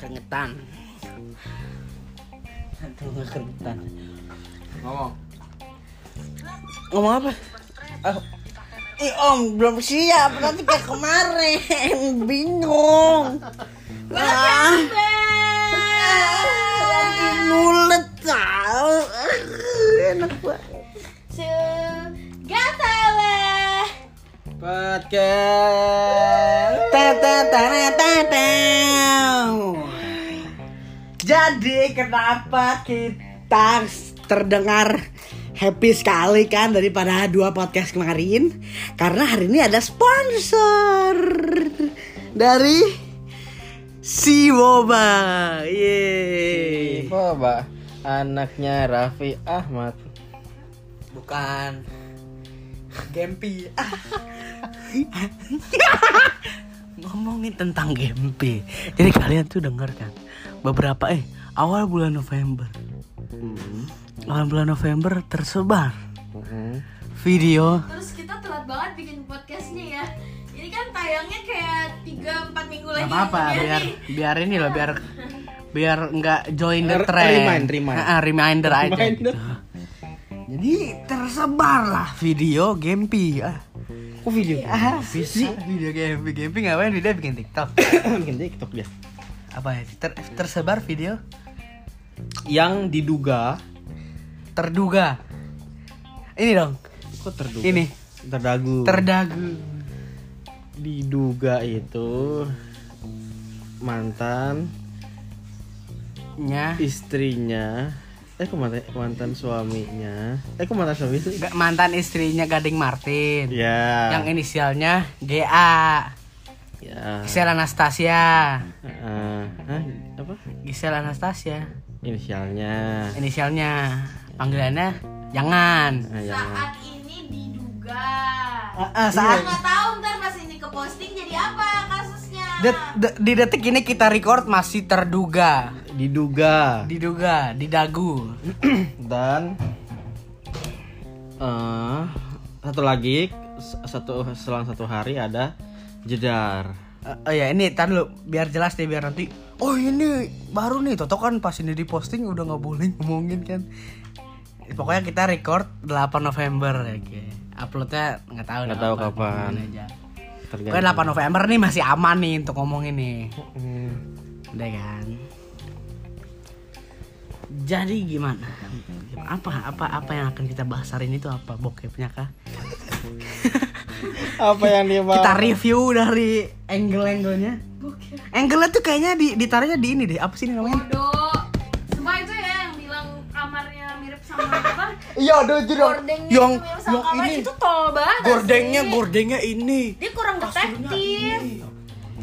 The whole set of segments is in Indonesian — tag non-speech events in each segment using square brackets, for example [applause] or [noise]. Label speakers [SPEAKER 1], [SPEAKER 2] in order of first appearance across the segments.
[SPEAKER 1] keretan
[SPEAKER 2] Hantu ngekerutan.
[SPEAKER 3] Ngomong.
[SPEAKER 2] Ngomong apa? Oh. Ih om belum siap nanti kayak kemarin bingung. Ah. Lagi mulut tahu. Ah, Enak banget.
[SPEAKER 4] Gatawa.
[SPEAKER 3] Podcast.
[SPEAKER 2] Teteteteteteu. Jadi kenapa kita terdengar happy sekali kan daripada dua podcast kemarin? Karena hari ini ada sponsor dari si Boba. Yeay.
[SPEAKER 3] Coba anaknya Raffi Ahmad.
[SPEAKER 2] Bukan Gempi.
[SPEAKER 1] [laughs] ngomongin tentang GMP jadi kalian tuh denger kan beberapa eh awal bulan November awal bulan November tersebar video
[SPEAKER 4] Terus kita telat banget bikin podcastnya ya. Ini kan tayangnya kayak 3-4 minggu lagi.
[SPEAKER 1] Gak apa-apa
[SPEAKER 4] ya
[SPEAKER 1] biar
[SPEAKER 4] nih.
[SPEAKER 1] biar ini loh biar biar nggak join the
[SPEAKER 3] R-
[SPEAKER 1] trend
[SPEAKER 3] remind, remind.
[SPEAKER 1] Ah, ah, reminder aja
[SPEAKER 3] Reminder.
[SPEAKER 1] gitu. jadi tersebar lah video Gempi ah
[SPEAKER 3] Kok video? [coughs]
[SPEAKER 1] ah bisa video Gempi Gempi ngapain dia bikin TikTok
[SPEAKER 3] Bikin TikTok dia.
[SPEAKER 1] apa ya Ter- tersebar video
[SPEAKER 3] Yang diduga
[SPEAKER 1] terduga ini dong
[SPEAKER 3] kok terduga?
[SPEAKER 1] ini
[SPEAKER 3] terdagu.
[SPEAKER 1] terdagu
[SPEAKER 3] diduga itu mantan
[SPEAKER 1] nya
[SPEAKER 3] istrinya eh kok mantan, mantan suaminya eh kok mantan suami sih
[SPEAKER 1] ga- mantan istrinya Gading Martin
[SPEAKER 3] ya
[SPEAKER 1] yang inisialnya GA
[SPEAKER 3] ya
[SPEAKER 1] Gisel Anastasia
[SPEAKER 3] Ah, hah? apa
[SPEAKER 1] Gisel Anastasia
[SPEAKER 3] inisialnya
[SPEAKER 1] inisialnya panggilannya jangan Eh,
[SPEAKER 3] Ah, ya.
[SPEAKER 4] Saat ini diduga.
[SPEAKER 1] Ah. saat
[SPEAKER 4] Nggak tahu ntar pas ini ke posting jadi apa kasusnya.
[SPEAKER 1] det- de- di detik ini kita record masih terduga
[SPEAKER 3] diduga
[SPEAKER 1] diduga didagu
[SPEAKER 3] [clears throat] dan eh satu lagi s- satu selang satu hari ada jedar
[SPEAKER 1] Eh, oh ya ini tar dulu biar jelas deh biar nanti oh ini baru nih Toto kan pas ini diposting udah nggak boleh ngomongin kan pokoknya kita record 8 November ya Ki. uploadnya nggak tahu
[SPEAKER 3] Nggak
[SPEAKER 1] dah
[SPEAKER 3] tahu
[SPEAKER 1] kapan,
[SPEAKER 3] kapan.
[SPEAKER 1] ngomongin aja.
[SPEAKER 3] tergantung
[SPEAKER 1] Pokoknya 8 November nih masih aman nih untuk ngomongin nih
[SPEAKER 3] Hmm,
[SPEAKER 1] udah kan jadi gimana apa apa apa yang akan kita bahas hari ini tuh apa bokepnya kah
[SPEAKER 3] apa yang dia mau
[SPEAKER 1] kita review dari angle-angle-nya
[SPEAKER 4] Bukan.
[SPEAKER 1] angle-nya tuh kayaknya di ditaruhnya di ini deh apa sih ini namanya
[SPEAKER 4] Bodoh. Sumpah itu ya yang bilang kamarnya mirip sama apa?
[SPEAKER 3] iya aduh jedar
[SPEAKER 4] Gordengnya
[SPEAKER 1] yang-
[SPEAKER 4] itu mirip sama
[SPEAKER 1] yang
[SPEAKER 4] kamar
[SPEAKER 1] ini.
[SPEAKER 4] itu tol banget. gak
[SPEAKER 1] gordengnya
[SPEAKER 4] sih?
[SPEAKER 1] gordengnya ini
[SPEAKER 4] Dia kurang detektif.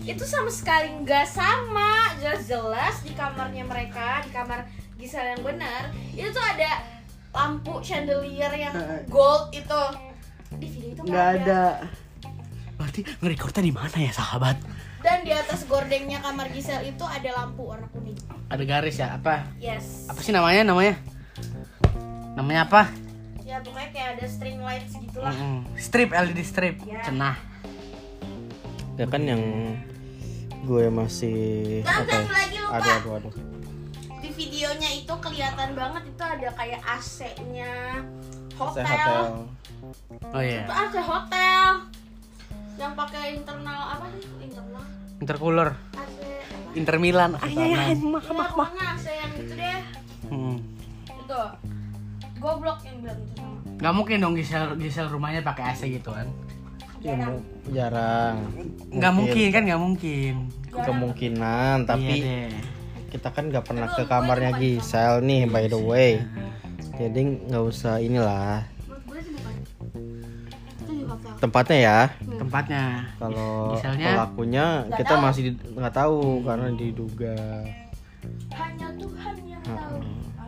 [SPEAKER 4] Itu sama sekali nggak sama. Jelas-jelas di kamarnya mereka, di kamar Gisel yang benar, itu tuh ada lampu chandelier yang gold itu. Di video itu Eh, nggak ada.
[SPEAKER 1] berarti ngerekordnya di mana ya sahabat
[SPEAKER 4] Dan di atas gordengnya kamar Gisel itu ada lampu warna kuning.
[SPEAKER 1] ada garis ya apa
[SPEAKER 4] Yes.
[SPEAKER 1] apa sih namanya namanya namanya apa
[SPEAKER 4] Ya pokoknya kayak ada string lights gitulah.
[SPEAKER 1] strip LED strip
[SPEAKER 4] Ya.
[SPEAKER 1] cenah
[SPEAKER 3] ya kan yang gue masih
[SPEAKER 4] Jangan
[SPEAKER 3] apa ya?
[SPEAKER 4] satu lagi, lupa.
[SPEAKER 3] aduh aduh aduh
[SPEAKER 4] Di videonya itu kelihatan banget itu ada kayak AC-nya
[SPEAKER 3] saya
[SPEAKER 4] hotel.
[SPEAKER 3] hotel
[SPEAKER 1] oh iya
[SPEAKER 4] itu AC hotel yang pakai internal apa sih internal
[SPEAKER 1] intercooler
[SPEAKER 4] AC apa
[SPEAKER 1] Inter Milan
[SPEAKER 4] Iya,
[SPEAKER 1] Ayah,
[SPEAKER 4] ya pokoknya AC yang gitu deh
[SPEAKER 1] Mm.
[SPEAKER 4] itu goblok yang bilang itu sama
[SPEAKER 1] Gak mungkin dong Gisel, Gisel rumahnya pakai AC gitu kan
[SPEAKER 3] Ya, mu- jarang
[SPEAKER 1] Gak mungkin kan gak mungkin
[SPEAKER 3] kemungkinan tapi
[SPEAKER 1] Iya deh.
[SPEAKER 3] kita kan nggak pernah ke kamarnya Gisel nih by the way
[SPEAKER 1] Iya.
[SPEAKER 3] jadi nggak usah inilah
[SPEAKER 4] menurut gue sih bukan itu di hotel
[SPEAKER 3] tempatnya ya
[SPEAKER 1] tempatnya
[SPEAKER 3] kalau
[SPEAKER 1] Giselnya?
[SPEAKER 3] pelakunya
[SPEAKER 4] Nggak
[SPEAKER 3] kita
[SPEAKER 4] tahu.
[SPEAKER 3] masih di- nggak tahu karena diduga
[SPEAKER 4] hanya Tuhan yang
[SPEAKER 1] Hmm.
[SPEAKER 4] tahu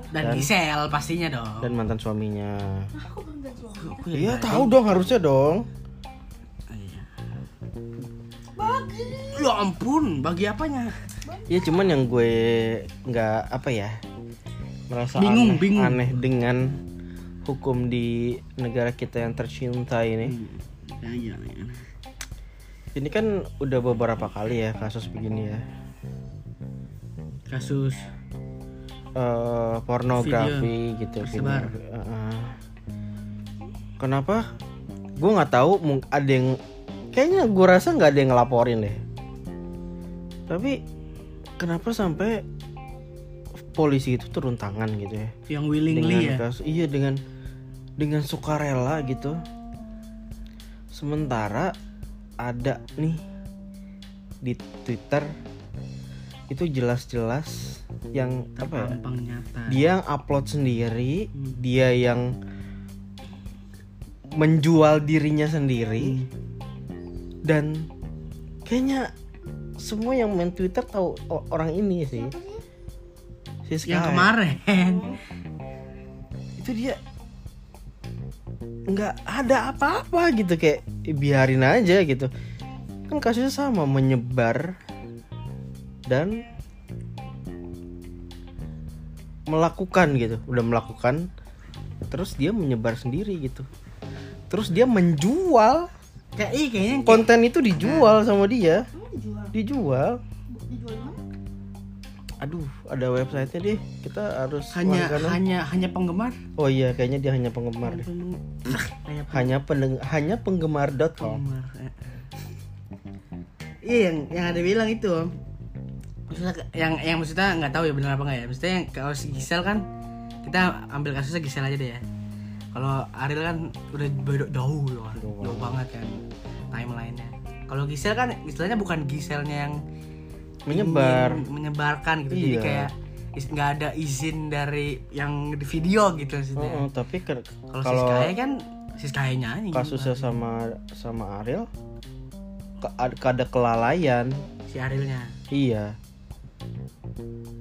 [SPEAKER 1] dan,
[SPEAKER 3] Dan-
[SPEAKER 1] Gisel pastinya dong
[SPEAKER 3] dan mantan suaminya
[SPEAKER 4] Nah, aku belum bilang suami
[SPEAKER 3] iya tahu dong harusnya dong
[SPEAKER 4] bagi
[SPEAKER 1] Ya ampun, bagi apanya?
[SPEAKER 3] Iya cuman yang gue nggak apa ya merasa
[SPEAKER 1] Bingung,
[SPEAKER 3] aneh,
[SPEAKER 1] bingung.
[SPEAKER 3] aneh dengan hukum di negara kita yang tercinta ini. Ini kan udah beberapa kali ya kasus begini ya.
[SPEAKER 1] kasus
[SPEAKER 3] eh, pornografi
[SPEAKER 1] Video.
[SPEAKER 3] gitu
[SPEAKER 1] Tersebar.
[SPEAKER 3] video. Heeh. kenapa gue nggak tahu mung- ada yang kayaknya gue rasa nggak ada yang ngelaporin deh tapi kenapa sampai polisi itu turun tangan gitu ya
[SPEAKER 1] yang willingly ya
[SPEAKER 3] kasus- iya dengan dengan sukarela gitu sementara ada nih di Twitter itu jelas-jelas yang apa ya
[SPEAKER 1] gampang nyata
[SPEAKER 3] dia yang upload sendiri dia yang menjual dirinya sendiri dan kayaknya semua yang main Twitter tahu o- orang ini sih si
[SPEAKER 1] yang
[SPEAKER 3] Sky.
[SPEAKER 1] kemarin
[SPEAKER 3] itu dia nggak ada apa-apa gitu kayak "Eh, biarin aja gitu kan kasusnya sama menyebar dan melakukan gitu udah melakukan terus dia menyebar sendiri gitu terus dia menjual
[SPEAKER 1] kayak ih, kayaknya kayak-
[SPEAKER 3] konten itu dijual sama dia dijual aduh ada websitenya deh kita harus
[SPEAKER 1] hanya
[SPEAKER 3] langganan.
[SPEAKER 1] hanya hanya penggemar
[SPEAKER 3] oh iya kayaknya dia hanya penggemar deh
[SPEAKER 1] hanya
[SPEAKER 3] hanya pendeng hanya penggemar.com
[SPEAKER 1] penggemar eh. iya yang yang ada bilang itu Om. maksudnya ke- yang yang maksudnya nggak tahu ya benar apa nggak ya maksudnya yang kalau si Gisel kan kita ambil kasusnya Gisel aja deh ya kalau Ariel kan udah beda jauh loh jauh, banget kan timelinenya kalau Gisel kan istilahnya bukan Giselnya yang
[SPEAKER 3] menyebar
[SPEAKER 1] ingin menyebarkan gitu jadi
[SPEAKER 3] Iya.
[SPEAKER 1] kayak is- nggak ada izin dari yang di video gitu maksudnya
[SPEAKER 3] Heeh, tapi ke-
[SPEAKER 1] kalau si
[SPEAKER 3] kalau
[SPEAKER 1] Sky kan si Sky nyanyi
[SPEAKER 3] kasusnya sama sama Ariel ke, ad- ada kelalaian
[SPEAKER 1] si Arielnya
[SPEAKER 3] iya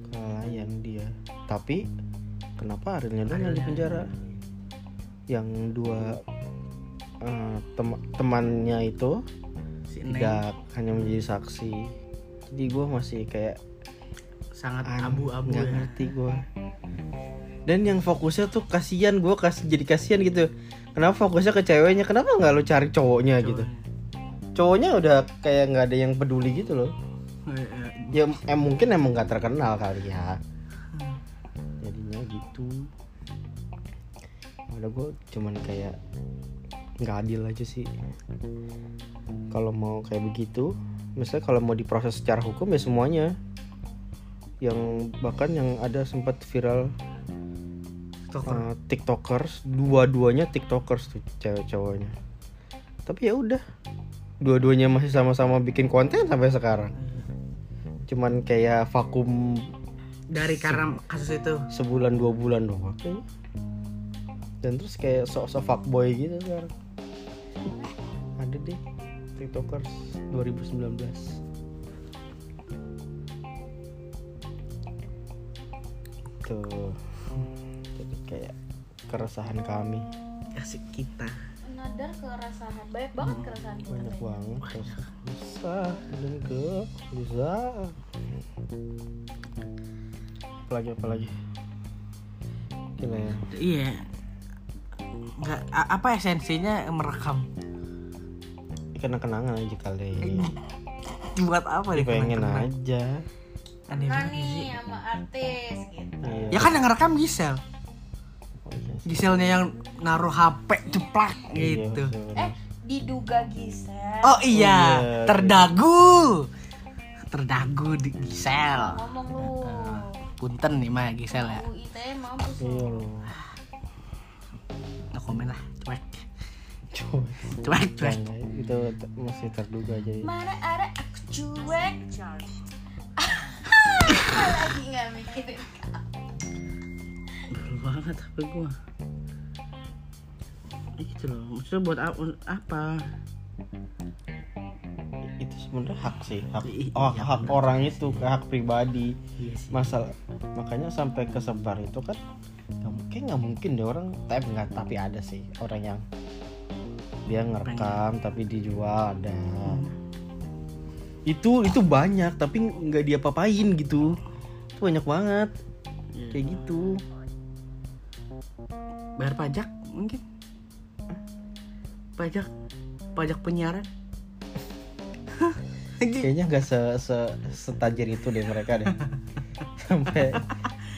[SPEAKER 3] kelalaian dia tapi kenapa Arielnya doang yang di penjara yang dua eh, tem- temannya itu
[SPEAKER 1] si Neng
[SPEAKER 3] tidak hanya menjadi saksi jadi gue masih kayak
[SPEAKER 1] sangat
[SPEAKER 3] An-
[SPEAKER 1] abu-abu
[SPEAKER 3] nggak
[SPEAKER 1] ya.
[SPEAKER 3] ngerti gue dan yang fokusnya tuh kasihan gue kasih jadi kasihan gitu kenapa fokusnya ke ceweknya kenapa nggak lo cari cowoknya gitu cowoknya udah kayak nggak ada yang peduli gitu loh
[SPEAKER 1] Eh, eh,
[SPEAKER 3] ya em- mungkin emang nggak terkenal kali ya jadinya gitu ada gue cuman kayak nggak adil aja sih kalau mau kayak begitu misalnya kalau mau diproses secara hukum ya semuanya yang bahkan yang ada sempat viral
[SPEAKER 1] TikToker.
[SPEAKER 3] eh, tiktokers dua-duanya tiktokers tuh cewek cowoknya tapi ya udah dua-duanya masih sama-sama bikin konten sampai sekarang cuman kayak vakum
[SPEAKER 1] dari karena kasus itu
[SPEAKER 3] sebulan dua bulan doang kayaknya. dan terus kayak sok-sok fuckboy gitu sekarang ada deh tiktokers 2019 tuh jadi kayak keresahan kami
[SPEAKER 1] kasih ya, kita
[SPEAKER 4] nadar keresahan banyak banget
[SPEAKER 1] Hmm.
[SPEAKER 4] gitu. keresahan kita
[SPEAKER 3] banyak
[SPEAKER 4] kayaknya.
[SPEAKER 3] banget terus bisa dan ke bisa apalagi apalagi gila ya
[SPEAKER 1] iya nggak a- apa esensinya merekam [laughs]
[SPEAKER 3] kenang kenangan aja kali
[SPEAKER 1] buat apa Kan deh
[SPEAKER 3] Ih, pengen
[SPEAKER 1] kenang-kenang?
[SPEAKER 3] aja
[SPEAKER 1] Aneh
[SPEAKER 4] Nah
[SPEAKER 1] banget sih.
[SPEAKER 4] nih sama artis gitu
[SPEAKER 3] Iya.
[SPEAKER 1] ya kan yang ngerekam Gisel
[SPEAKER 3] Oh, iya sih.
[SPEAKER 1] Giselnya yang naruh HP ceplak
[SPEAKER 3] Iya,
[SPEAKER 1] gitu
[SPEAKER 3] betul.
[SPEAKER 4] eh diduga Gisel
[SPEAKER 1] Oh iya,
[SPEAKER 3] Iya.
[SPEAKER 1] terdagu. Terdagu di Gisel.
[SPEAKER 4] ngomong lu
[SPEAKER 1] Punten nih mah Gisel ya.
[SPEAKER 4] UIT mampus lu
[SPEAKER 3] iya loh
[SPEAKER 1] No komen lah, cuek.
[SPEAKER 3] Coy,
[SPEAKER 1] Cuek, cuek.
[SPEAKER 3] jangan, Iya, itu t- masih terduga aja ya.
[SPEAKER 4] mana ada aku cuek lagi nggak mikirin
[SPEAKER 1] Betul banget HP gua. Gitu loh, maksudnya buat ap- apa?
[SPEAKER 3] itu sebenarnya hak sih hak
[SPEAKER 1] Iya,
[SPEAKER 3] oh,
[SPEAKER 1] iya,
[SPEAKER 3] hak orang itu hak pribadi
[SPEAKER 1] Iya sih.
[SPEAKER 3] masalah makanya sampai kesebar itu kan nggak mungkin nggak mungkin deh orang tapi nggak tapi ada sih orang yang dia ngerekam tapi dijual ada
[SPEAKER 1] Hmm.
[SPEAKER 3] itu itu banyak tapi nggak dia papain gitu itu banyak banget kayak gitu
[SPEAKER 1] Iya. Bayar pajak mungkin. Pajak pajak penyiaran. [laughs]
[SPEAKER 3] kayaknya nggak se, se setajir itu deh mereka deh sampai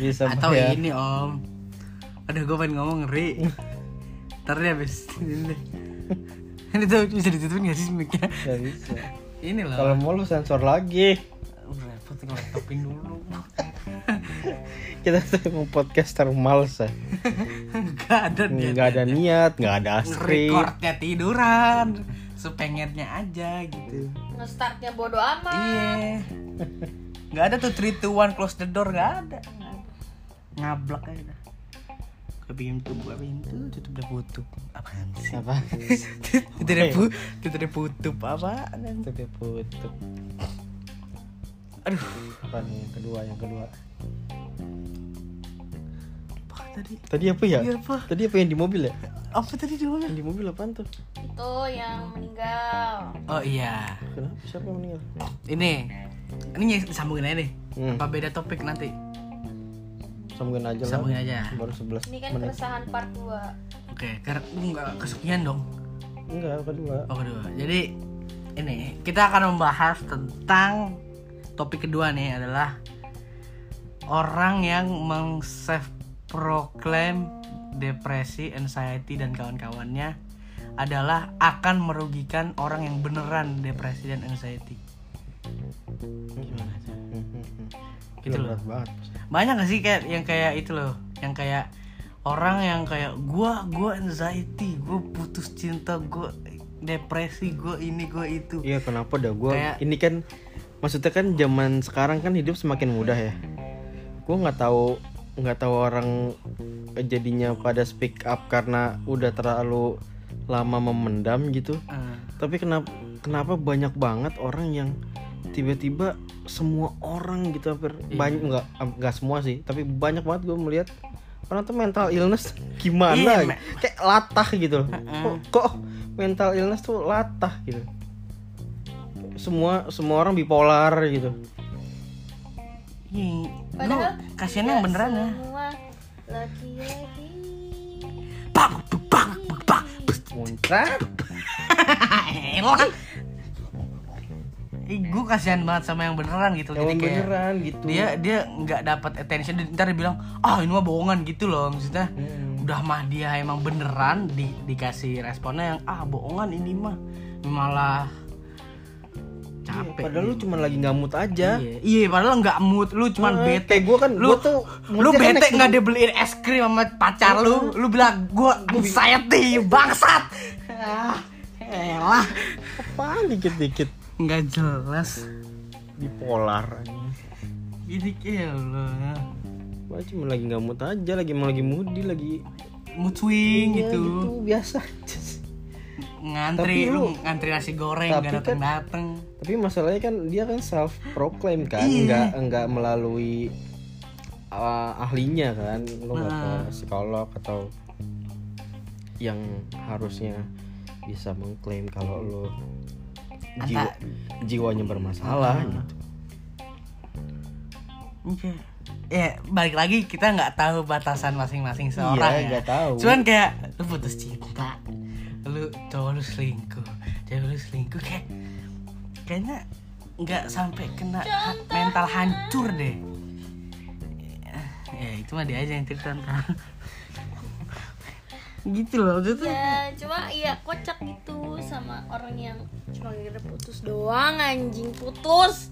[SPEAKER 3] bisa
[SPEAKER 1] Atau
[SPEAKER 3] bayar.
[SPEAKER 1] ini om Aduh gue pengen ngomong ngeri Ntar deh abis ini [laughs] deh. Ini tuh bisa ditutupin gak sih mic-nya?
[SPEAKER 3] Nggak bisa.
[SPEAKER 1] Ini loh
[SPEAKER 3] Kalau mau lu sensor lagi.
[SPEAKER 1] Repot ngeleptopin dulu
[SPEAKER 3] Kita tuh mau podcaster males ya.
[SPEAKER 1] Gak ada dia
[SPEAKER 3] Nggak ada niat, nggak ada skrip.
[SPEAKER 1] Recordnya tiduran Sepengetnya aja gitu
[SPEAKER 4] [laughs] ngestartnya bodo amat
[SPEAKER 1] Iya Gak ada tuh 3, 2, 1 close the door Gak ada nggak ada. Ngablak aja Gue pintu, buka pintu, tutup deh tutup Apaan sih?
[SPEAKER 3] [laughs] Apa?
[SPEAKER 1] Tutup deh pu- tutup deh tutup apaan?
[SPEAKER 3] Itu dia putup.
[SPEAKER 1] Aduh
[SPEAKER 3] Apa nih yang kedua, yang kedua.
[SPEAKER 1] Apa tadi?
[SPEAKER 3] Tadi apa ya?
[SPEAKER 1] Iya, apa?
[SPEAKER 3] Tadi apa yang di mobil ya?
[SPEAKER 1] Apa tadi di mana?
[SPEAKER 3] Yang di mobil apaan tuh?
[SPEAKER 4] itu yang meninggal
[SPEAKER 1] Oh iya
[SPEAKER 3] Kenapa? Siapa yang meninggal?
[SPEAKER 1] Ini Ini nyes- sambungin aja nih
[SPEAKER 3] Hmm.
[SPEAKER 1] Apa beda topik nanti?
[SPEAKER 3] Sambungin aja lah.
[SPEAKER 1] Sambungin aja
[SPEAKER 3] Baru 11
[SPEAKER 4] ini kan
[SPEAKER 3] menit.
[SPEAKER 4] keresahan part 2
[SPEAKER 1] Oke, karena enggak kesekian dong
[SPEAKER 3] Enggak, kedua.
[SPEAKER 1] Oh kedua. Jadi ini kita akan membahas tentang topik kedua nih adalah orang yang mengself proclaim depresi, anxiety dan kawan-kawannya adalah akan merugikan orang yang beneran depresi dan anxiety. Oh, Gimana tuh? Gitu
[SPEAKER 3] Hmm, Gila,
[SPEAKER 1] loh.
[SPEAKER 3] berat banget.
[SPEAKER 1] Banyak gak sih kayak yang kayak itu loh, yang kayak orang yang kayak gua gua anxiety, gua putus cinta, gua depresi, gua ini, gua itu.
[SPEAKER 3] Iya kenapa dah gue
[SPEAKER 1] Kayak-
[SPEAKER 3] ini kan maksudnya kan zaman sekarang kan hidup semakin mudah ya. Gue nggak tahu nggak tahu orang jadinya pada speak up karena udah terlalu lama memendam gitu.
[SPEAKER 1] Eh,
[SPEAKER 3] Tapi kenapa kenapa banyak banget orang yang tiba-tiba semua orang gitu hampir
[SPEAKER 1] Iya.
[SPEAKER 3] banyak nggak nggak semua sih tapi banyak banget gue melihat orang tuh mental illness [laughs] gimana ya?
[SPEAKER 1] Iya, me-
[SPEAKER 3] kayak latah gitu loh kok, kok mental illness tuh latah gitu semua semua orang bipolar gitu
[SPEAKER 1] Ih, lu
[SPEAKER 4] padahal
[SPEAKER 1] kasihan yang
[SPEAKER 4] tidak
[SPEAKER 1] beneran ya.
[SPEAKER 4] semua laki-laki
[SPEAKER 1] Pak, pak, pak, [laughs]
[SPEAKER 3] muncrat
[SPEAKER 1] elang. Ih, gue kasihan banget sama yang beneran gitu. Jadi
[SPEAKER 3] yang
[SPEAKER 1] kayak
[SPEAKER 3] beneran gitu
[SPEAKER 1] dia dia nggak dapat attention. dan Ntar dia bilang, ah ini mah bohongan gitu loh maksudnya.
[SPEAKER 3] Hmm.
[SPEAKER 1] Udah mah dia emang beneran di, dikasih responnya yang ah bohongan ini mah malah
[SPEAKER 3] Iya,
[SPEAKER 1] capek.
[SPEAKER 3] padahal lu cuma lagi ngamut
[SPEAKER 1] ya?
[SPEAKER 3] aja
[SPEAKER 1] Iya, iya padahal nggak mood, lu cuman
[SPEAKER 3] Nah,
[SPEAKER 1] bete.
[SPEAKER 3] kayak gua kan,
[SPEAKER 1] lu
[SPEAKER 3] gua tuh
[SPEAKER 1] lu
[SPEAKER 3] moodnya kan
[SPEAKER 1] bete
[SPEAKER 3] naik Eh.
[SPEAKER 1] nggak dibeliin es krim sama pacar lu, lu bilang gua anxiety bangsat. Ah, elah,
[SPEAKER 3] apaan dikit-dikit
[SPEAKER 1] nggak jelas.
[SPEAKER 3] bipolar
[SPEAKER 1] Ini kayak lu ya.
[SPEAKER 3] Gua cuma lagi ngamut aja lagi mau lagi moody lagi
[SPEAKER 1] mood swing
[SPEAKER 3] Iya,
[SPEAKER 1] gitu.
[SPEAKER 3] biasa
[SPEAKER 1] Ngantri
[SPEAKER 3] Tapi
[SPEAKER 1] lu,
[SPEAKER 3] lu-
[SPEAKER 1] ngantri nasi goreng
[SPEAKER 3] tapi
[SPEAKER 1] nggak
[SPEAKER 3] kan-
[SPEAKER 1] dateng dateng.
[SPEAKER 3] tapi masalahnya kan dia kan self proclaim kan nggak nggak melalui uh, ahlinya kan lo nggak ke psikolog atau yang harusnya bisa mengklaim kalau lo jiwa, jiwanya bermasalah gitu
[SPEAKER 1] Oke. Ya, balik lagi kita nggak tahu batasan masing-masing seorang
[SPEAKER 3] Iya,
[SPEAKER 1] ya.
[SPEAKER 3] nggak tahu.
[SPEAKER 1] Cuman kayak lu putus cinta, lu cowok lu selingkuh, cewek lu selingkuh kayak kayaknya nggak sampai kena ha- mental hancur deh. Ya itu mah dia aja yang cerita ntar. gitu loh itu tuh.
[SPEAKER 4] ya cuma iya kocak gitu sama orang yang cuma gara putus doang anjing putus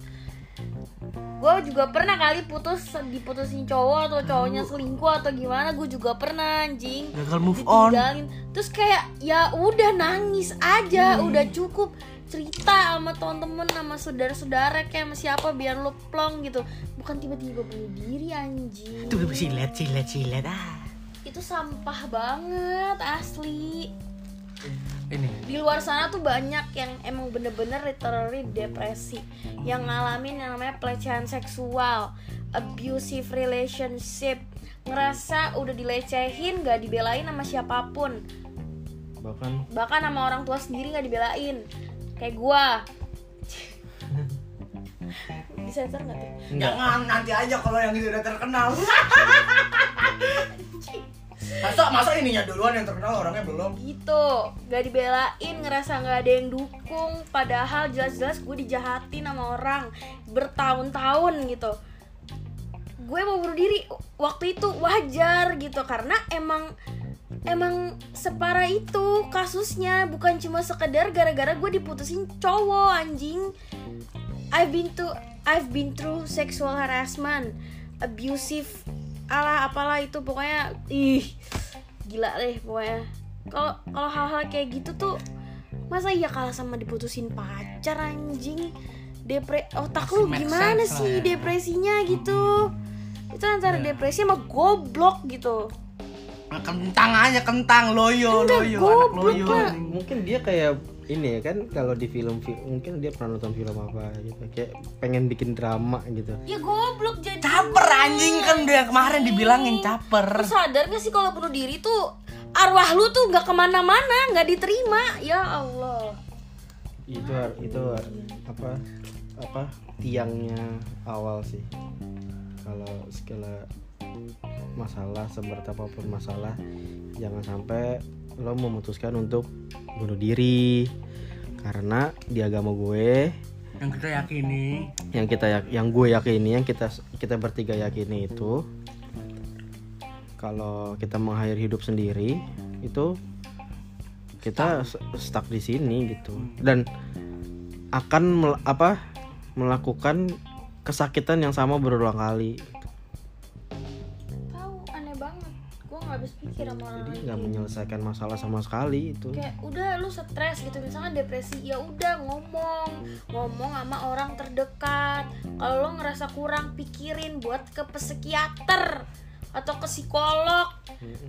[SPEAKER 4] gue juga pernah kali putus diputusin cowok atau cowoknya selingkuh atau gimana gue juga pernah anjing
[SPEAKER 1] Gagal move on.
[SPEAKER 4] ditinggalin terus kayak ya udah nangis aja udah cukup cerita sama temen-temen sama saudara-saudara kayak sama siapa biar lo plong gitu bukan tiba-tiba bunuh diri anjing
[SPEAKER 1] Tuh silet silet silet ah.
[SPEAKER 4] itu sampah banget asli
[SPEAKER 1] Ini
[SPEAKER 4] di luar sana tuh banyak yang emang bener-bener literally depresi yang ngalamin yang namanya pelecehan seksual abusive relationship ngerasa udah dilecehin gak dibelain sama siapapun
[SPEAKER 3] bahkan
[SPEAKER 4] bahkan sama orang tua sendiri gak dibelain kayak gua disensor nggak tuh
[SPEAKER 1] Jangan nanti aja kalau yang itu udah terkenal. masa masa ininya duluan yang terkenal orangnya belum.
[SPEAKER 4] gitu gak dibelain ngerasa nggak ada yang dukung padahal jelas-jelas gue dijahatin sama orang bertahun-tahun gitu gue mau bunuh diri waktu itu wajar gitu karena emang emang separah itu kasusnya bukan cuma sekedar gara-gara gue diputusin cowok anjing I've been to I've been through sexual harassment abusive alah apalah itu pokoknya ih gila deh pokoknya kalau kalau hal-hal kayak gitu tuh masa iya kalah sama diputusin pacar anjing depre otak lu
[SPEAKER 1] Masih make
[SPEAKER 4] gimana
[SPEAKER 1] sense lah
[SPEAKER 4] sih
[SPEAKER 1] ya. Mm-hmm.
[SPEAKER 4] depresinya gitu itu antara depresi sama goblok gitu
[SPEAKER 1] Nah, kentang aja kentang loyo
[SPEAKER 4] Enggak,
[SPEAKER 1] loyo anak
[SPEAKER 4] goblok
[SPEAKER 1] loyo
[SPEAKER 4] lah.
[SPEAKER 3] mungkin dia kayak ini ya kan kalau di film fi- mungkin dia pernah nonton film apa gitu kayak pengen bikin drama gitu
[SPEAKER 4] ya goblok jadi
[SPEAKER 1] caper anjing kan udah yang kemarin dibilangin
[SPEAKER 4] Lu
[SPEAKER 1] caper
[SPEAKER 4] sadar gak sih kalau bunuh diri tuh arwah lu tuh nggak kemana-mana, nggak diterima. Ya Allah.
[SPEAKER 3] itu har- itu har- apa apa tiangnya awal sih kalau segala masalah seberat apapun masalah jangan sampai lo memutuskan untuk bunuh diri karena di agama gue
[SPEAKER 1] yang kita yakini
[SPEAKER 3] yang kita yak- yang gue yakini yang kita kita bertiga yakini itu kalau kita mengakhiri hidup sendiri itu kita s- stuck di sini gitu dan akan mel- apa melakukan kesakitan yang sama berulang kali
[SPEAKER 4] Tahu aneh banget. Gua nggak habis pikir sama orang
[SPEAKER 3] jadi
[SPEAKER 4] lain kayak
[SPEAKER 3] nggak
[SPEAKER 4] gitu.
[SPEAKER 3] menyelesaikan masalah sama sekali itu
[SPEAKER 4] Kayak udah lu stres gitu misalkan depresi ya udah ngomong ngomong sama orang terdekat kalau lo ngerasa kurang pikirin buat ke psikiater atau ke psikolog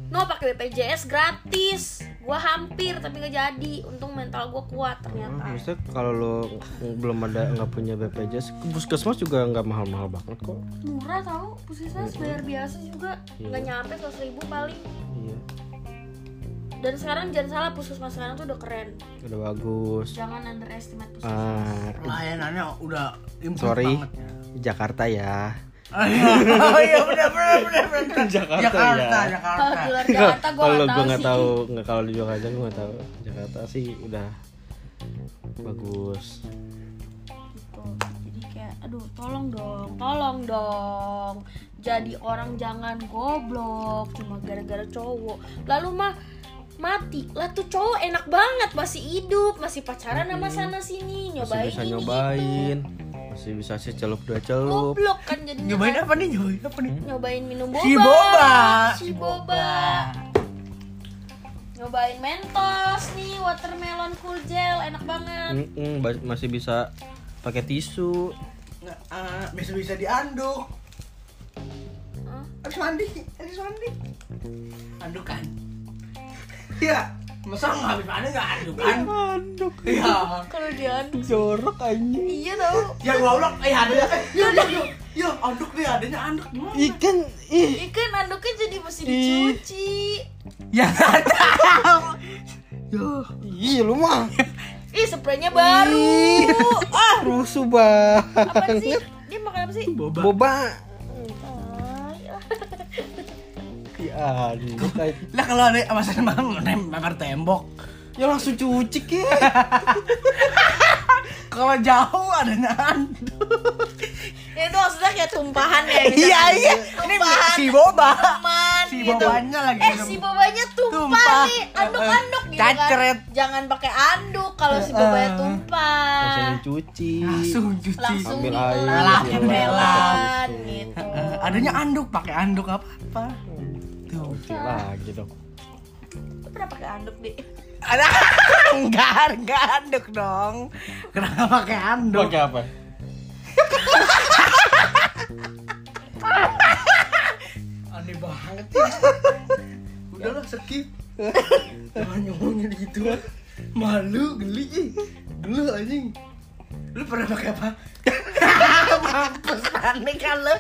[SPEAKER 4] no pakai BPJS gratis gua hampir tapi nggak jadi untung mental gua kuat ternyata
[SPEAKER 3] Nah, maksudnya kalau lo belum ada nggak punya BPJS ke puskesmas juga nggak mahal-mahal banget kok
[SPEAKER 4] murah tau puskesmas bayar biasa juga
[SPEAKER 3] Iya.
[SPEAKER 4] nggak nyampe 100.000 ribu paling
[SPEAKER 3] iya
[SPEAKER 4] dan sekarang jangan salah puskesmas sekarang tuh udah keren
[SPEAKER 3] udah bagus
[SPEAKER 4] jangan underestimate puskesmas
[SPEAKER 3] Ah,
[SPEAKER 1] layanannya udah improve
[SPEAKER 3] sorry
[SPEAKER 1] banget ya.
[SPEAKER 3] Jakarta ya
[SPEAKER 1] [laughs] Oh iya, oh iya benar benar benar benar.
[SPEAKER 3] Jakarta,
[SPEAKER 1] Jakarta,
[SPEAKER 4] kalau
[SPEAKER 3] ya.
[SPEAKER 1] Jakarta.
[SPEAKER 4] di luar Jakarta gue
[SPEAKER 3] [laughs] kalau
[SPEAKER 4] nggak
[SPEAKER 3] gue
[SPEAKER 4] tahu
[SPEAKER 3] nggak
[SPEAKER 4] sih
[SPEAKER 3] tahu nggak kalau di Jakarta gue nggak tahu Jakarta sih udah bagus
[SPEAKER 4] gitu jadi kayak aduh tolong dong tolong dong jadi orang jangan goblok cuma gara-gara cowok lalu mah mati lah tuh cowok enak banget masih hidup masih pacaran sama sana sini
[SPEAKER 3] masih
[SPEAKER 4] nyobain
[SPEAKER 3] bisa
[SPEAKER 4] ini, itu.
[SPEAKER 3] nyobain masih bisa sih celup dua celup
[SPEAKER 4] goblok kan jadi
[SPEAKER 1] Nyobain apa nih? Nyobain apa nih?
[SPEAKER 4] nyobain minum boba
[SPEAKER 1] Si boba.
[SPEAKER 4] si boba nyobain mentos nih watermelon cool gel enak banget
[SPEAKER 3] Mm-mm, ba- masih bisa pakai tisu
[SPEAKER 2] Nggak, ah, bisa bisa dianduk.
[SPEAKER 4] Hah?
[SPEAKER 2] Habis mandi, habis mandi.
[SPEAKER 1] kan?
[SPEAKER 2] Andukan. Iya. Masa nggak habis mandi nggak kan? andukan?
[SPEAKER 3] aduh
[SPEAKER 2] Iya.
[SPEAKER 4] kalau diaduk
[SPEAKER 3] jorok anjing
[SPEAKER 4] iya tau
[SPEAKER 2] Ya goblok, eh ada
[SPEAKER 4] Iya,
[SPEAKER 2] ya. Yuk, yuk, yuk. Yuk, anduk deh, adanya anduk gimana?
[SPEAKER 3] ikan ih
[SPEAKER 4] ikan anduknya jadi mesti dicuci
[SPEAKER 1] Ya nggak tahu.
[SPEAKER 3] iya lu mah
[SPEAKER 4] ih spraynya baru
[SPEAKER 3] Ih,
[SPEAKER 4] ah
[SPEAKER 3] rusuh banget
[SPEAKER 4] apa sih dia makan apa sih
[SPEAKER 1] Boba.
[SPEAKER 3] boba
[SPEAKER 4] Ah, ya.
[SPEAKER 3] iya aduh kayak-
[SPEAKER 1] Lah kalau ada masalah mang lempar tembok.
[SPEAKER 3] ya langsung cuci ya
[SPEAKER 1] Kalau jauh adanya anduk.
[SPEAKER 4] ya itu maksudnya kayak tumpahan ya gitu.
[SPEAKER 1] [laughs] Iya iya. Ini
[SPEAKER 4] tumpahan
[SPEAKER 1] si boba.
[SPEAKER 4] aman
[SPEAKER 1] Si
[SPEAKER 4] gitu.
[SPEAKER 1] bobanya lagi.
[SPEAKER 4] eh
[SPEAKER 1] minum.
[SPEAKER 4] si bobanya tumpah,
[SPEAKER 1] Tumpah.
[SPEAKER 4] nih anduk-anduk gitu kan.
[SPEAKER 1] Cacret.
[SPEAKER 4] jangan pakai anduk kalau
[SPEAKER 1] Eh.
[SPEAKER 4] si bobanya tumpah
[SPEAKER 3] langsung dicuci
[SPEAKER 1] langsung cuci.
[SPEAKER 4] langsung
[SPEAKER 3] Ambil air,
[SPEAKER 4] ditelan
[SPEAKER 1] ambil
[SPEAKER 4] jembelan
[SPEAKER 3] air.
[SPEAKER 4] gitu
[SPEAKER 1] Eh, adanya anduk, pakai anduk apa apa. Tuh.
[SPEAKER 3] Cuci lagi dong
[SPEAKER 4] Lu pernah pakai anduk deh
[SPEAKER 1] Ada [laughs] enggak, enggak anduk dong. Kenapa pakai anduk?
[SPEAKER 3] pakai apa
[SPEAKER 2] Aneh banget
[SPEAKER 1] [laughs]
[SPEAKER 2] ya. Udahlah skip. Jangan nyomongin gitu. Malu, geli. ih. Geli anjing. Lu pernah pakai apa?
[SPEAKER 1] Mampus panik kan lu.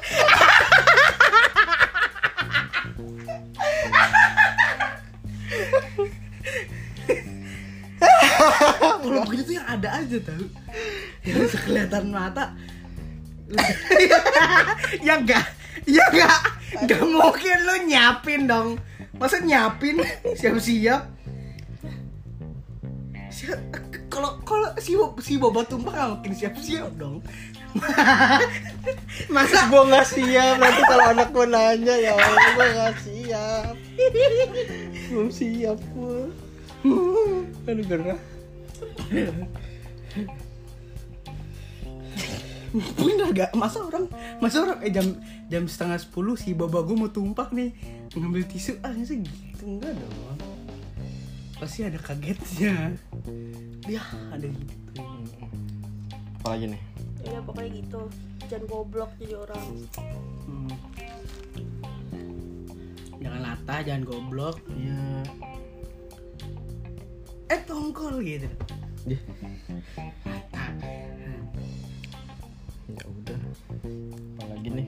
[SPEAKER 2] Kalau begitu tuh yang ada aja tau.
[SPEAKER 1] Yang sekelihatan mata. ya enggak. Ya enggak. Enggak mungkin lu nyiapin dong. Masa nyiapin siap-siap? Si- Kalau kalau si Bob- si Boba tumpah nggak mungkin siap-siap dong.
[SPEAKER 3] [laughs]
[SPEAKER 1] Masa
[SPEAKER 3] gue nggak siap nanti kalau anak gue nanya ya Allah gue nggak siap belum siap gue
[SPEAKER 1] aduh gerah. Bener gak? Masa orang Masa orang eh, jam jam setengah sepuluh si baba gue mau tumpah nih Ngambil tisu ah masa gitu enggak dong Pasti ada kagetnya Dia ada gitu
[SPEAKER 3] apa lagi nih
[SPEAKER 4] Iya pokoknya gitu. Jangan goblok jadi orang.
[SPEAKER 1] Hmm. Jangan latah, jangan goblok.
[SPEAKER 3] iya
[SPEAKER 1] Eh tongkol gitu.
[SPEAKER 3] Ih.
[SPEAKER 1] Latah.
[SPEAKER 3] ya udah apa lagi nih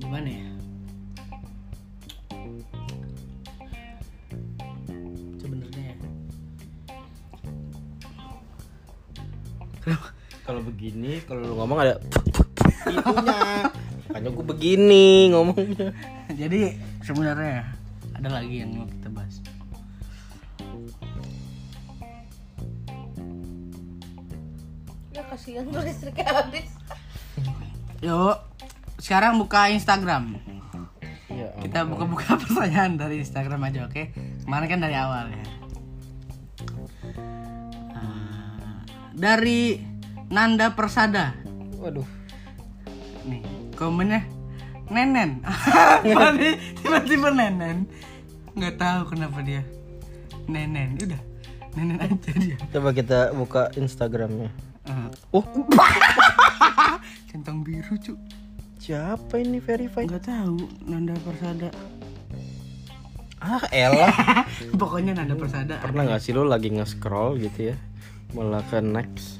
[SPEAKER 1] Gimana ya? Sebenarnya ya.
[SPEAKER 3] kalau begini kalau lu ngomong ada itunya makanya gue begini ngomongnya
[SPEAKER 1] Jadi sebenarnya ada lagi yang mau kita bahas.
[SPEAKER 4] Ya kasihan tuh listriknya habis.
[SPEAKER 1] Yuk, sekarang buka Instagram.
[SPEAKER 3] iya
[SPEAKER 1] Kita buka-buka [laughs] pertanyaan dari Instagram aja, oke? Kemarin kan dari awal ya. Ah, dari Nanda Persada.
[SPEAKER 3] waduh
[SPEAKER 1] Nih, komennya Nenen. [laughs] Apa nih? Tiba-tiba Nenen. Nggak tahu kenapa dia. Nenen, udah. Nenen aja dia.
[SPEAKER 3] coba kita buka Instagramnya
[SPEAKER 1] Ah, [laughs]
[SPEAKER 3] oh
[SPEAKER 1] centang biru, cu.
[SPEAKER 3] siapa ini verify
[SPEAKER 1] Nggak tahu Nanda Persada. [laughs]
[SPEAKER 3] ah elah
[SPEAKER 1] Pokoknya Nanda Persada.
[SPEAKER 3] pernah nggak sih lo lagi nge-scroll gitu ya malah ke next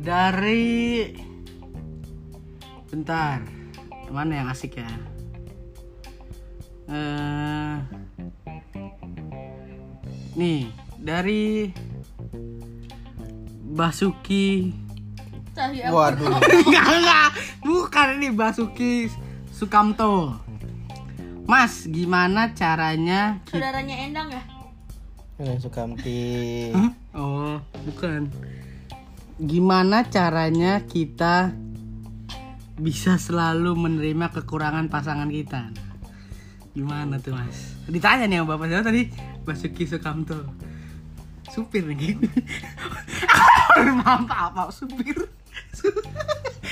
[SPEAKER 1] dari bentar mana yang asik ya eh nih dari Basuki [laughs]
[SPEAKER 4] Cahaya
[SPEAKER 3] waduh
[SPEAKER 1] enggak enggak bukan ini Basuki Sukamto Mas gimana caranya ki-
[SPEAKER 4] saudaranya Endang ya?
[SPEAKER 3] Yang suka anti
[SPEAKER 1] Hah? oh bukan gimana caranya kita bisa selalu menerima kekurangan pasangan kita gimana tuh mas ditanya nih sama bapak saya tadi Basuki Sukamto supir [laughs] nih gitu apa apa supir Su-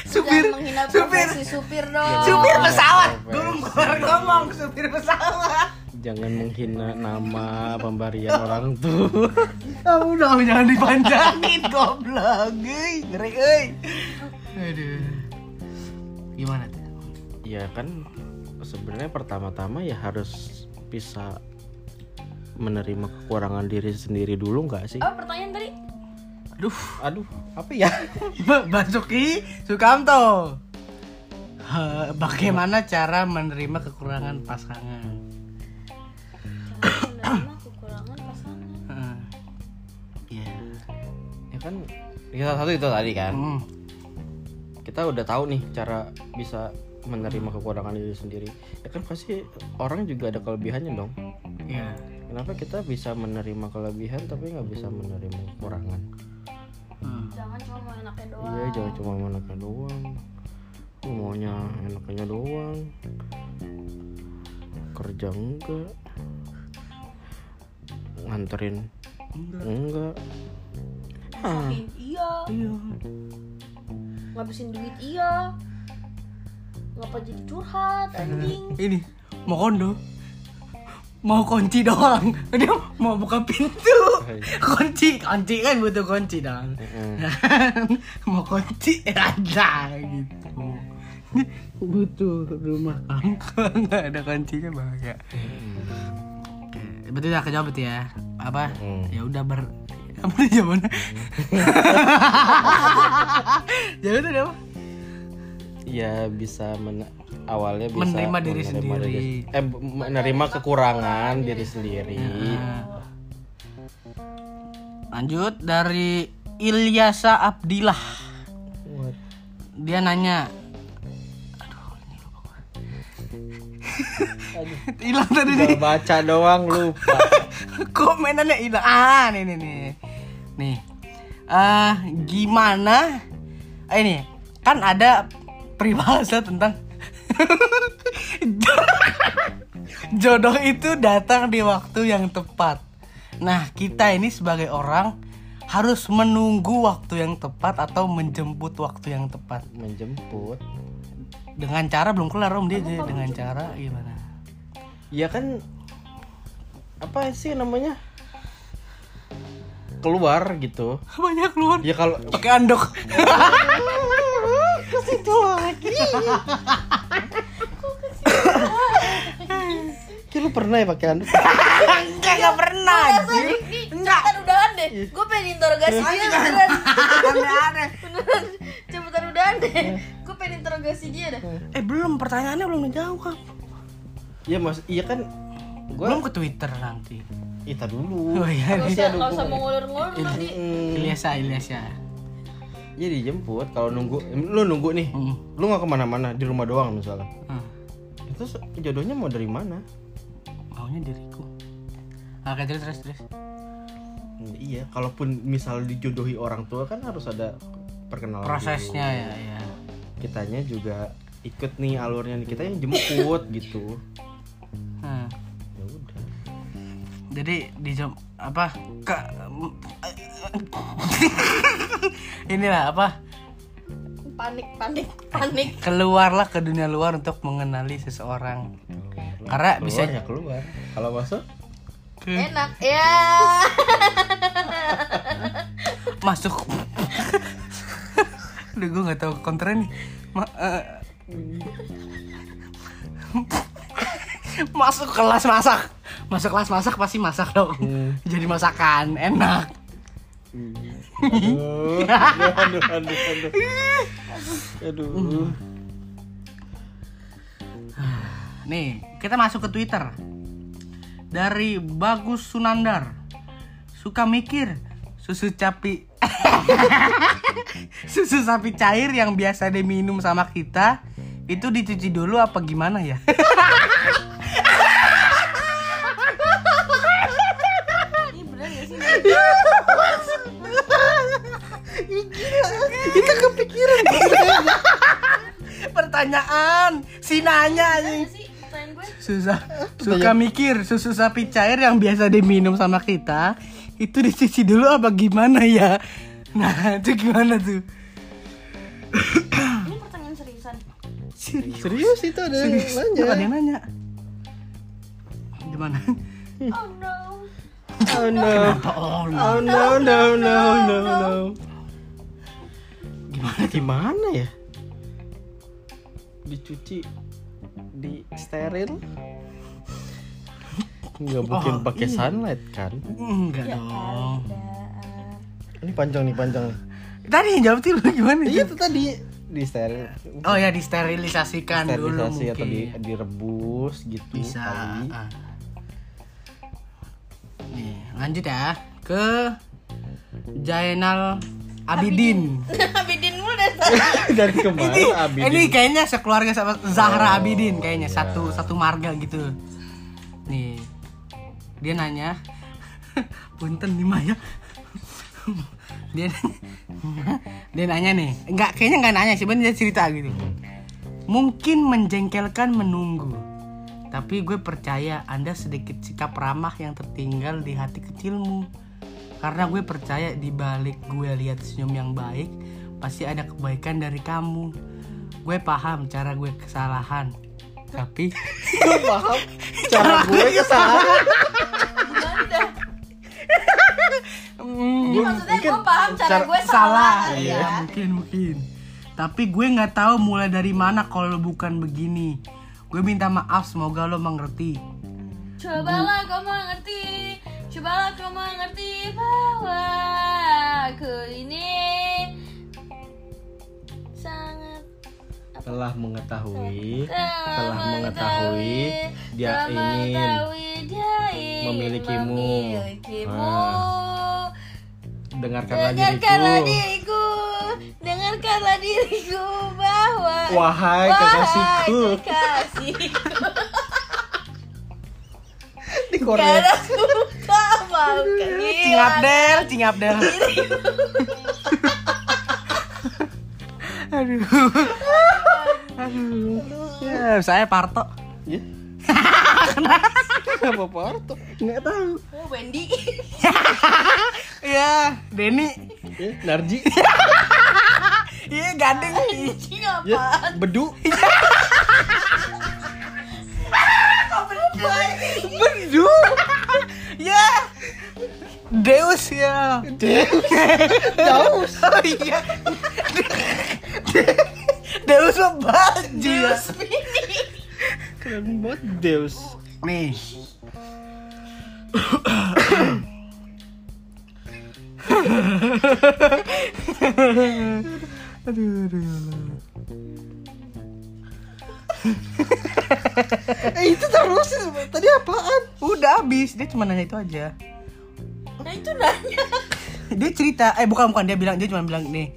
[SPEAKER 1] supir
[SPEAKER 4] Jangan menghina
[SPEAKER 1] supir Iya,
[SPEAKER 4] profesi supir dong.
[SPEAKER 1] supir pesawat gue keluar ngomong supir pesawat
[SPEAKER 3] jangan menghina nama pemberian orang tua
[SPEAKER 1] Kamu dong Ah, oh, jangan dipanjangin [laughs] goblok, euy, ngeri euy. Aduh. Gimana tuh?
[SPEAKER 3] ya kan sebenarnya pertama-tama ya harus bisa menerima kekurangan diri sendiri dulu nggak sih
[SPEAKER 4] Oh pertanyaan tadi?
[SPEAKER 1] Aduh, [laughs]
[SPEAKER 3] aduh apa ya
[SPEAKER 1] Basuki Sukamto. Ha, Bagaimana cara menerima kekurangan pasangan?
[SPEAKER 4] Jangan menerima kekurangan pasangan.
[SPEAKER 1] Heeh. Iya.
[SPEAKER 3] [laughs] ya kan kita satu itu tadi kan
[SPEAKER 1] Hmm.
[SPEAKER 3] kita udah tahu nih cara bisa menerima kekurangan diri sendiri ya kan pasti orang juga ada kelebihannya dong
[SPEAKER 1] Iya.
[SPEAKER 3] kenapa kita bisa menerima kelebihan tapi nggak bisa menerima kekurangan
[SPEAKER 1] Hmm.
[SPEAKER 4] Jangan cuma mau enaknya doang.
[SPEAKER 3] Iya jangan cuma mau enaknya doang Lu maunya enaknya doang Kerja enggak Nganterin Enggak
[SPEAKER 1] Hmm.
[SPEAKER 4] Masakin iya.
[SPEAKER 1] Iya.
[SPEAKER 4] Ngabisin duit iya. Ngapa jadi curhat
[SPEAKER 1] Hmm.
[SPEAKER 4] anjing?
[SPEAKER 1] Ini mau kondo. Mau kunci doang. Dia mau buka pintu. Kunci, kunci kan butuh kunci dong.
[SPEAKER 3] Mm-mm.
[SPEAKER 1] [laughs] mau kunci eh, ada gitu butuh rumah angker [laughs] nggak ada kuncinya bahaya Oke, berarti udah kejawab berarti ya apa
[SPEAKER 3] Hmm.
[SPEAKER 1] ya udah ber [laughs] apa nih jawabannya [laughs] jawabannya udah apa
[SPEAKER 3] Ya bisa men- awalnya bisa
[SPEAKER 1] Menerima diri sendiri.
[SPEAKER 3] eh, b- menerima kekurangan diri sendiri
[SPEAKER 1] Nah. lanjut dari Ilyasa Abdillah dia nanya aduh ini lupa gua [laughs] hilang tadi nih
[SPEAKER 3] Tinggal baca doang lupa.
[SPEAKER 1] [laughs] komenannya hilang ah nih nih nih nih ah gimana ah, ini kan ada peribahasa tentang [laughs] jodoh itu datang di waktu yang tepat nah kita ini sebagai orang harus menunggu waktu yang tepat atau menjemput waktu yang tepat
[SPEAKER 3] Menjemput.
[SPEAKER 1] dengan cara belum kelar om dia dia dengan cara gimana [laughs]
[SPEAKER 3] Ya kan apa sih namanya? Keluar gitu.
[SPEAKER 1] banyak keluar
[SPEAKER 3] Ya kalau
[SPEAKER 1] pakai andok [laughs]
[SPEAKER 3] Ki lu pernah ya pakai anduk?
[SPEAKER 1] enggak enggak pernah anjir. enggak Iya.
[SPEAKER 4] Cepetan udahan deh. Gue pengen interogasi dia
[SPEAKER 1] [laughs]
[SPEAKER 4] beneran.
[SPEAKER 1] Aneh-aneh.
[SPEAKER 4] Beneran. Cepetan udahan deh.
[SPEAKER 1] Iya.
[SPEAKER 4] Gue pengen interogasi dia dah.
[SPEAKER 1] eh belum pertanyaannya belum dijawab
[SPEAKER 3] [laughs] Iya mas, iya kan gua
[SPEAKER 1] belum ke twitter nanti [laughs]
[SPEAKER 3] Ita dulu.
[SPEAKER 1] oh iya
[SPEAKER 4] Gak
[SPEAKER 1] nih
[SPEAKER 4] usah, gak usah mau ngulur-ngulur lu di.
[SPEAKER 3] Hmm.
[SPEAKER 1] Ilyasa Ilyasa
[SPEAKER 3] Jadi jemput Iya, kalau nunggu lu nunggu nih.
[SPEAKER 1] Hmm.
[SPEAKER 3] Lu nggak kemana mana di rumah doang misalnya.
[SPEAKER 1] Ah,
[SPEAKER 3] Itu jodohnya mau dari mana?
[SPEAKER 1] maunya diriku oke terus terus terus
[SPEAKER 3] Hmm, iya, kalaupun misal dijodohi orang tua kan harus ada perkenalan. dulu.
[SPEAKER 1] prosesnya ya ya
[SPEAKER 3] Kitanya juga ikut nih alurnya nih. kita yang jemput gitu.
[SPEAKER 1] Hmm.
[SPEAKER 3] Ya udah.
[SPEAKER 1] jadi di jam apa ke [laughs] inilah apa
[SPEAKER 4] Panik, panik, panik.
[SPEAKER 1] keluarlah ke dunia luar untuk mengenali seseorang Karena
[SPEAKER 3] Keluar
[SPEAKER 1] bisa- Hmm.
[SPEAKER 3] ya keluar. Kalau masuk
[SPEAKER 4] Enak. Ya.
[SPEAKER 1] masuk Aduh gue gak tau kontra nih Ma- eh. Masuk kelas masak Masuk kelas masak pasti masak dong Jadi masakan enak
[SPEAKER 3] aduh, aduh, aduh, aduh, aduh. Aduh.
[SPEAKER 1] Nih kita masuk ke Twitter Dari Bagus Sunandar Suka mikir Susu capi [laughs] Susu sapi cair yang biasa diminum sama kita Itu dicuci dulu apa gimana ya?
[SPEAKER 4] Ini bener gak sih?
[SPEAKER 1] Kita
[SPEAKER 4] [laughs]
[SPEAKER 1] kepikiran Pertanyaan Si
[SPEAKER 4] Bener gak
[SPEAKER 1] nanya anjing
[SPEAKER 4] Iya sih? Pertanyaan gue.
[SPEAKER 3] [laughs]
[SPEAKER 1] Susah Suka mikir Susu sapi cair yang biasa diminum sama kita Itu dicuci dulu apa gimana ya Nah [laughs] itu gimana tuh
[SPEAKER 4] Ini pertanyaan seriusan.
[SPEAKER 1] Serius
[SPEAKER 3] Serius itu ada yang
[SPEAKER 1] Serius
[SPEAKER 3] Eh, nanya.
[SPEAKER 1] Ada yang nanya
[SPEAKER 3] [laughs]
[SPEAKER 1] Gimana Hmm.
[SPEAKER 4] Oh no.
[SPEAKER 3] Oh no.
[SPEAKER 1] Oh
[SPEAKER 3] Oh no no no [laughs] no no. Gimana gimana ya? Dicuci di steril? Nggak mungkin
[SPEAKER 1] Oh,
[SPEAKER 3] pakai
[SPEAKER 1] iya.
[SPEAKER 3] sunlight kan?
[SPEAKER 1] Enggak dong
[SPEAKER 3] Ini panjang nih panjang.
[SPEAKER 1] Tadi yang jawab tuh lu gimana Jun?
[SPEAKER 3] Iya itu tadi Kan di steril.
[SPEAKER 1] Oh ya disterilisasikan dulu
[SPEAKER 3] Sterilisasi
[SPEAKER 1] mungkin
[SPEAKER 3] atau di- direbus gitu
[SPEAKER 1] bisa
[SPEAKER 3] [laughs] kali.
[SPEAKER 1] ah. nih lanjut ya ke Jainal Abidin
[SPEAKER 4] [laughs] Abidin mulu dah
[SPEAKER 3] [laughs]
[SPEAKER 4] salah.
[SPEAKER 3] Ah, Dari kemarin
[SPEAKER 1] Eh,
[SPEAKER 3] abis
[SPEAKER 1] ini kayaknya sekeluarga sama Zahra Abidin kayaknya satu satu marga gitu nih dia nanya punten nih Maya dia dia nanya nih nggak kayaknya nggak nanya sih cuman dia cerita gitu mungkin menjengkelkan menunggu tapi gue percaya anda sedikit sikap ramah yang tertinggal di hati kecilmu karena gue percaya di balik gue lihat senyum yang baik pasti ada kebaikan dari kamu gue paham cara gue kesalahan tapi
[SPEAKER 3] Gua paham cara gue kesalahan.
[SPEAKER 4] Gimana dah?
[SPEAKER 1] Mm,
[SPEAKER 4] Ini maksudnya gue paham cara,
[SPEAKER 1] Nah,
[SPEAKER 3] Hmm. cara- iya.
[SPEAKER 4] gue salah.
[SPEAKER 1] salah
[SPEAKER 4] kali
[SPEAKER 1] ya
[SPEAKER 4] ya.
[SPEAKER 1] mungkin mungkin tapi gue nggak tahu mulai dari mana kalau bukan begini gue minta maaf semoga lo mengerti
[SPEAKER 4] Cobalah kau mengerti, cobalah kau mengerti bahwa aku ini sangat
[SPEAKER 3] telah mengetahui
[SPEAKER 4] telah,
[SPEAKER 3] Iya, telah mengetahui dia
[SPEAKER 4] telah
[SPEAKER 3] ingin
[SPEAKER 4] mengetahui dia ingin
[SPEAKER 3] memilikimu.
[SPEAKER 4] memilikimu.
[SPEAKER 3] dengarkanlah
[SPEAKER 4] Dengarkanlah
[SPEAKER 3] diriku
[SPEAKER 4] diriku, dengarkanlah diriku bahwa
[SPEAKER 3] wahai
[SPEAKER 4] Wahai
[SPEAKER 3] kekasihku
[SPEAKER 1] [laughs]
[SPEAKER 4] kekasihku.
[SPEAKER 3] di
[SPEAKER 4] Gak
[SPEAKER 3] kornet
[SPEAKER 4] ada ya. suka mau
[SPEAKER 1] Cingap
[SPEAKER 4] gila
[SPEAKER 1] del, cingap del. [laughs] Aduh. Aduh. Ya, saya Parto.
[SPEAKER 3] ya kenapa Parto nggak tahu
[SPEAKER 4] Oh, Wendy
[SPEAKER 1] Ya, Denny.
[SPEAKER 3] ya Narji
[SPEAKER 1] Iya, gading.
[SPEAKER 4] Anjing
[SPEAKER 3] ya
[SPEAKER 4] apa?
[SPEAKER 3] Bedu
[SPEAKER 1] Bedu. Ya. Deus ya.
[SPEAKER 3] Deus
[SPEAKER 1] Deus. Oh iya. Deus mah baju
[SPEAKER 4] Iya.
[SPEAKER 1] ya.
[SPEAKER 3] keren banget Deus
[SPEAKER 1] Nih. aduh, aduh.
[SPEAKER 3] eh itu terus tadi apaan
[SPEAKER 1] Udah habis, dia cuma nanya itu aja.
[SPEAKER 4] Nah itu nanya
[SPEAKER 1] [laughs] Dia cerita, eh bukan bukan dia bilang, dia cuma bilang nih.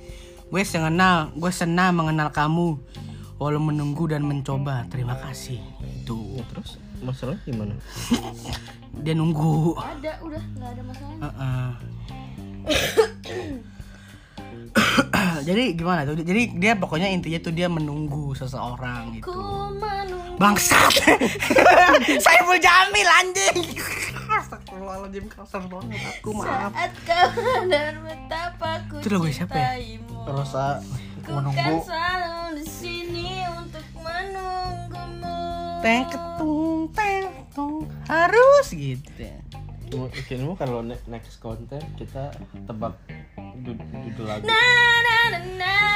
[SPEAKER 1] Gue sengenal, gue senang mengenal kamu. Walau menunggu dan mencoba, terima kasih. Itu.
[SPEAKER 3] ya, terus masalah gimana
[SPEAKER 1] Dia nunggu.
[SPEAKER 4] Ada udah gak ada masalah
[SPEAKER 1] Heeh. [coughs] Jadi gimana tuh? Jadi dia pokoknya intinya tuh dia menunggu seseorang
[SPEAKER 4] Ku
[SPEAKER 1] gitu.
[SPEAKER 4] menunggu
[SPEAKER 1] Bangsat. [laughs] Saiful Jamil anjing. Astagfirullahaladzim kasar banget aku maaf.
[SPEAKER 4] saat kau sadar betapa ku
[SPEAKER 1] Itu lagu siapa ya?
[SPEAKER 4] cintaimu
[SPEAKER 1] Rosa
[SPEAKER 4] Ku kan selalu di sini untuk menunggumu
[SPEAKER 1] Teng ketung teng tung harus gitu.
[SPEAKER 3] Mungkin kalau ne- next konten kita tebak jud- judul lagu
[SPEAKER 1] Nah.
[SPEAKER 3] [laughs]
[SPEAKER 4] Na na na na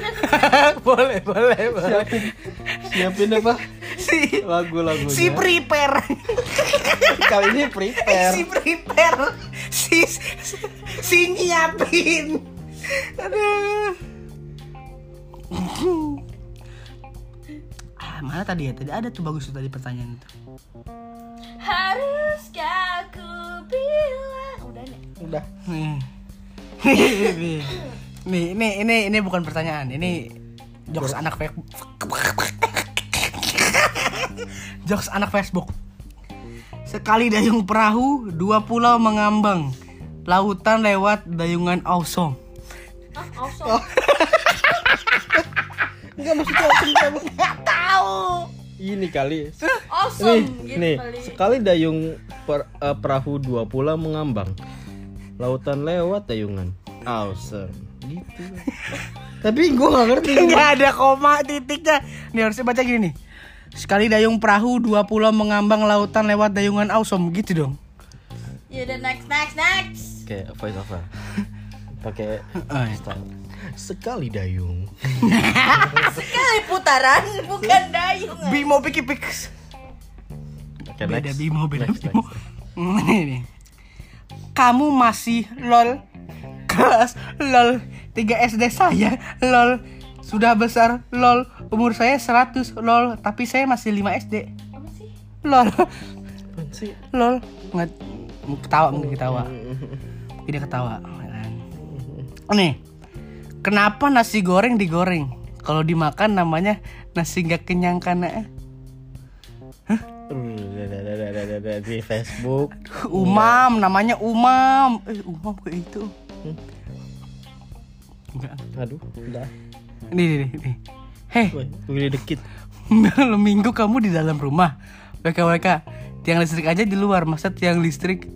[SPEAKER 4] [laughs]
[SPEAKER 1] boleh boleh boleh.
[SPEAKER 3] siapin apa
[SPEAKER 1] Si
[SPEAKER 3] lagu-lagunya
[SPEAKER 1] si prepare. [laughs]
[SPEAKER 3] kali ini
[SPEAKER 1] Si
[SPEAKER 3] prepare
[SPEAKER 1] prepare. Si si, si nyiapin. Aduh. Ah, mana tadi ya? Tadi ada tuh bagus tuh tadi pertanyaan itu.
[SPEAKER 4] Haruskah aku bilang Oh, Udah nih
[SPEAKER 3] udah
[SPEAKER 1] Nih. nih, nih, ini ini ini bukan pertanyaan. Ini jokes anak Facebook. jokes anak Facebook. Sekali dayung perahu, dua pulau mengambang. Lautan lewat dayungan Awesome.
[SPEAKER 4] Ah, awesome
[SPEAKER 3] enggak maksudnya langsung tembak.
[SPEAKER 1] Gak tahu.
[SPEAKER 3] ini kali
[SPEAKER 4] Awesome
[SPEAKER 3] nih
[SPEAKER 4] gitu
[SPEAKER 3] nih
[SPEAKER 4] kali
[SPEAKER 3] sekali dayung per- eh, perahu dua pula mengambang lautan lewat dayungan awesome gitu tapi gue gak ngerti
[SPEAKER 1] Gak ada koma titiknya. Nih harusnya baca gini nih. Sekali dayung perahu, dua pulau mengambang lautan lewat dayungan Awesome gitu dong.
[SPEAKER 4] Yaudah Ya, next next next
[SPEAKER 3] kayak voice over pakai
[SPEAKER 1] Eh,
[SPEAKER 3] style sekali dayung
[SPEAKER 4] Sekali putaran bukan dayung
[SPEAKER 1] Bimo Piki Piks.
[SPEAKER 3] Oke,
[SPEAKER 1] beda
[SPEAKER 3] Ya, next.
[SPEAKER 1] bimo beda
[SPEAKER 3] Next,
[SPEAKER 1] bimo
[SPEAKER 3] next.
[SPEAKER 1] Hmm, [laughs] ini nih. kamu masih lol kelas lol 3 SD saya lol sudah besar lol umur saya 100 lol tapi saya masih 5 SD
[SPEAKER 4] Apa sih?
[SPEAKER 1] lol
[SPEAKER 3] Apaan sih?
[SPEAKER 1] lol nggak ketawa mungkin ketawa Mungkin dia ketawa kan. nih kenapa nasi goreng digoreng kalau dimakan namanya nasi nggak kenyang karena eh,
[SPEAKER 3] di Facebook
[SPEAKER 1] Umam namanya Umam. Eh Umam kayak itu. Enggak.
[SPEAKER 3] aduh udah
[SPEAKER 1] Ini nih nih. nih. Heh,
[SPEAKER 3] Woi, gue dikit
[SPEAKER 1] malam [laughs] minggu kamu di dalam rumah. WKWK. Tiang listrik aja di luar, masa tiang listrik?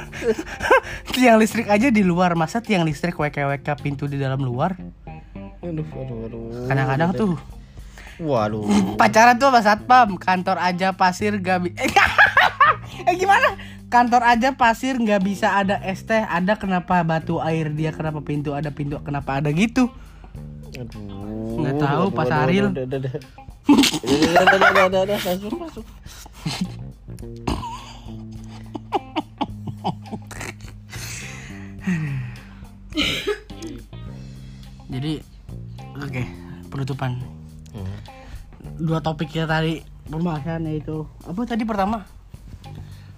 [SPEAKER 1] [laughs] tiang listrik aja di luar, masa tiang listrik WKWK pintu di dalam luar?
[SPEAKER 3] aduh aduh aduh
[SPEAKER 1] Kadang-kadang tuh
[SPEAKER 3] waduh
[SPEAKER 1] pacaran tuh sama satpam kantor aja pasir gak bi- eh, [laughs] gimana kantor aja pasir nggak bisa ada es teh ada kenapa batu air dia kenapa pintu ada pintu kenapa ada gitu
[SPEAKER 3] aduh
[SPEAKER 1] Nggak tahu,
[SPEAKER 3] aduh,
[SPEAKER 1] Pak
[SPEAKER 3] aduh,
[SPEAKER 1] Saril.
[SPEAKER 3] aduh, aduh, aduh. Udah, udah, udah, udah, udah, udah, masuk, masuk.
[SPEAKER 1] jadi oke penutupan
[SPEAKER 3] Hmm.
[SPEAKER 1] dua topik kita tadi pembahasan yaitu apa tadi pertama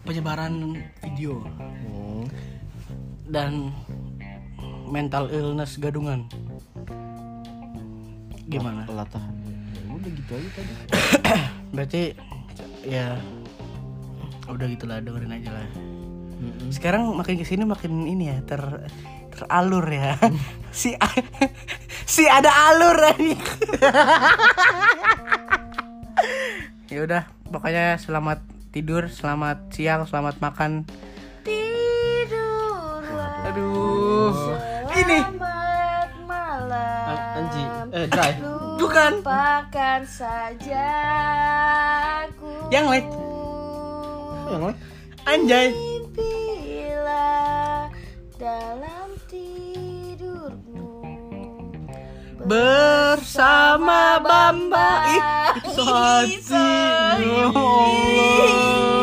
[SPEAKER 1] penyebaran video
[SPEAKER 3] Hmm.
[SPEAKER 1] dan mental illness gadungan gimana
[SPEAKER 3] Pelatahan. Ya, udah gitu aja tadi
[SPEAKER 1] berarti ya udah gitulah dengerin aja lah sekarang makin kesini makin ini ya ter teralur ya [laughs] si a- si ada alur anjing. [laughs] ya udah pokoknya selamat tidur selamat siang selamat makan
[SPEAKER 4] Tidur
[SPEAKER 1] aduh ini
[SPEAKER 4] Selamat malam
[SPEAKER 3] Anji,
[SPEAKER 1] [laughs]
[SPEAKER 3] eh Dry.
[SPEAKER 1] Bukan.
[SPEAKER 4] Lupakan saja aku Eh.
[SPEAKER 1] Yang lain.
[SPEAKER 3] Yang lain?
[SPEAKER 1] anjay
[SPEAKER 4] Mimpilah dalam tidurmu
[SPEAKER 1] bersama Bamba. Ih,
[SPEAKER 4] Ih,
[SPEAKER 1] sehati.
[SPEAKER 4] sorry.
[SPEAKER 1] Ya Allah.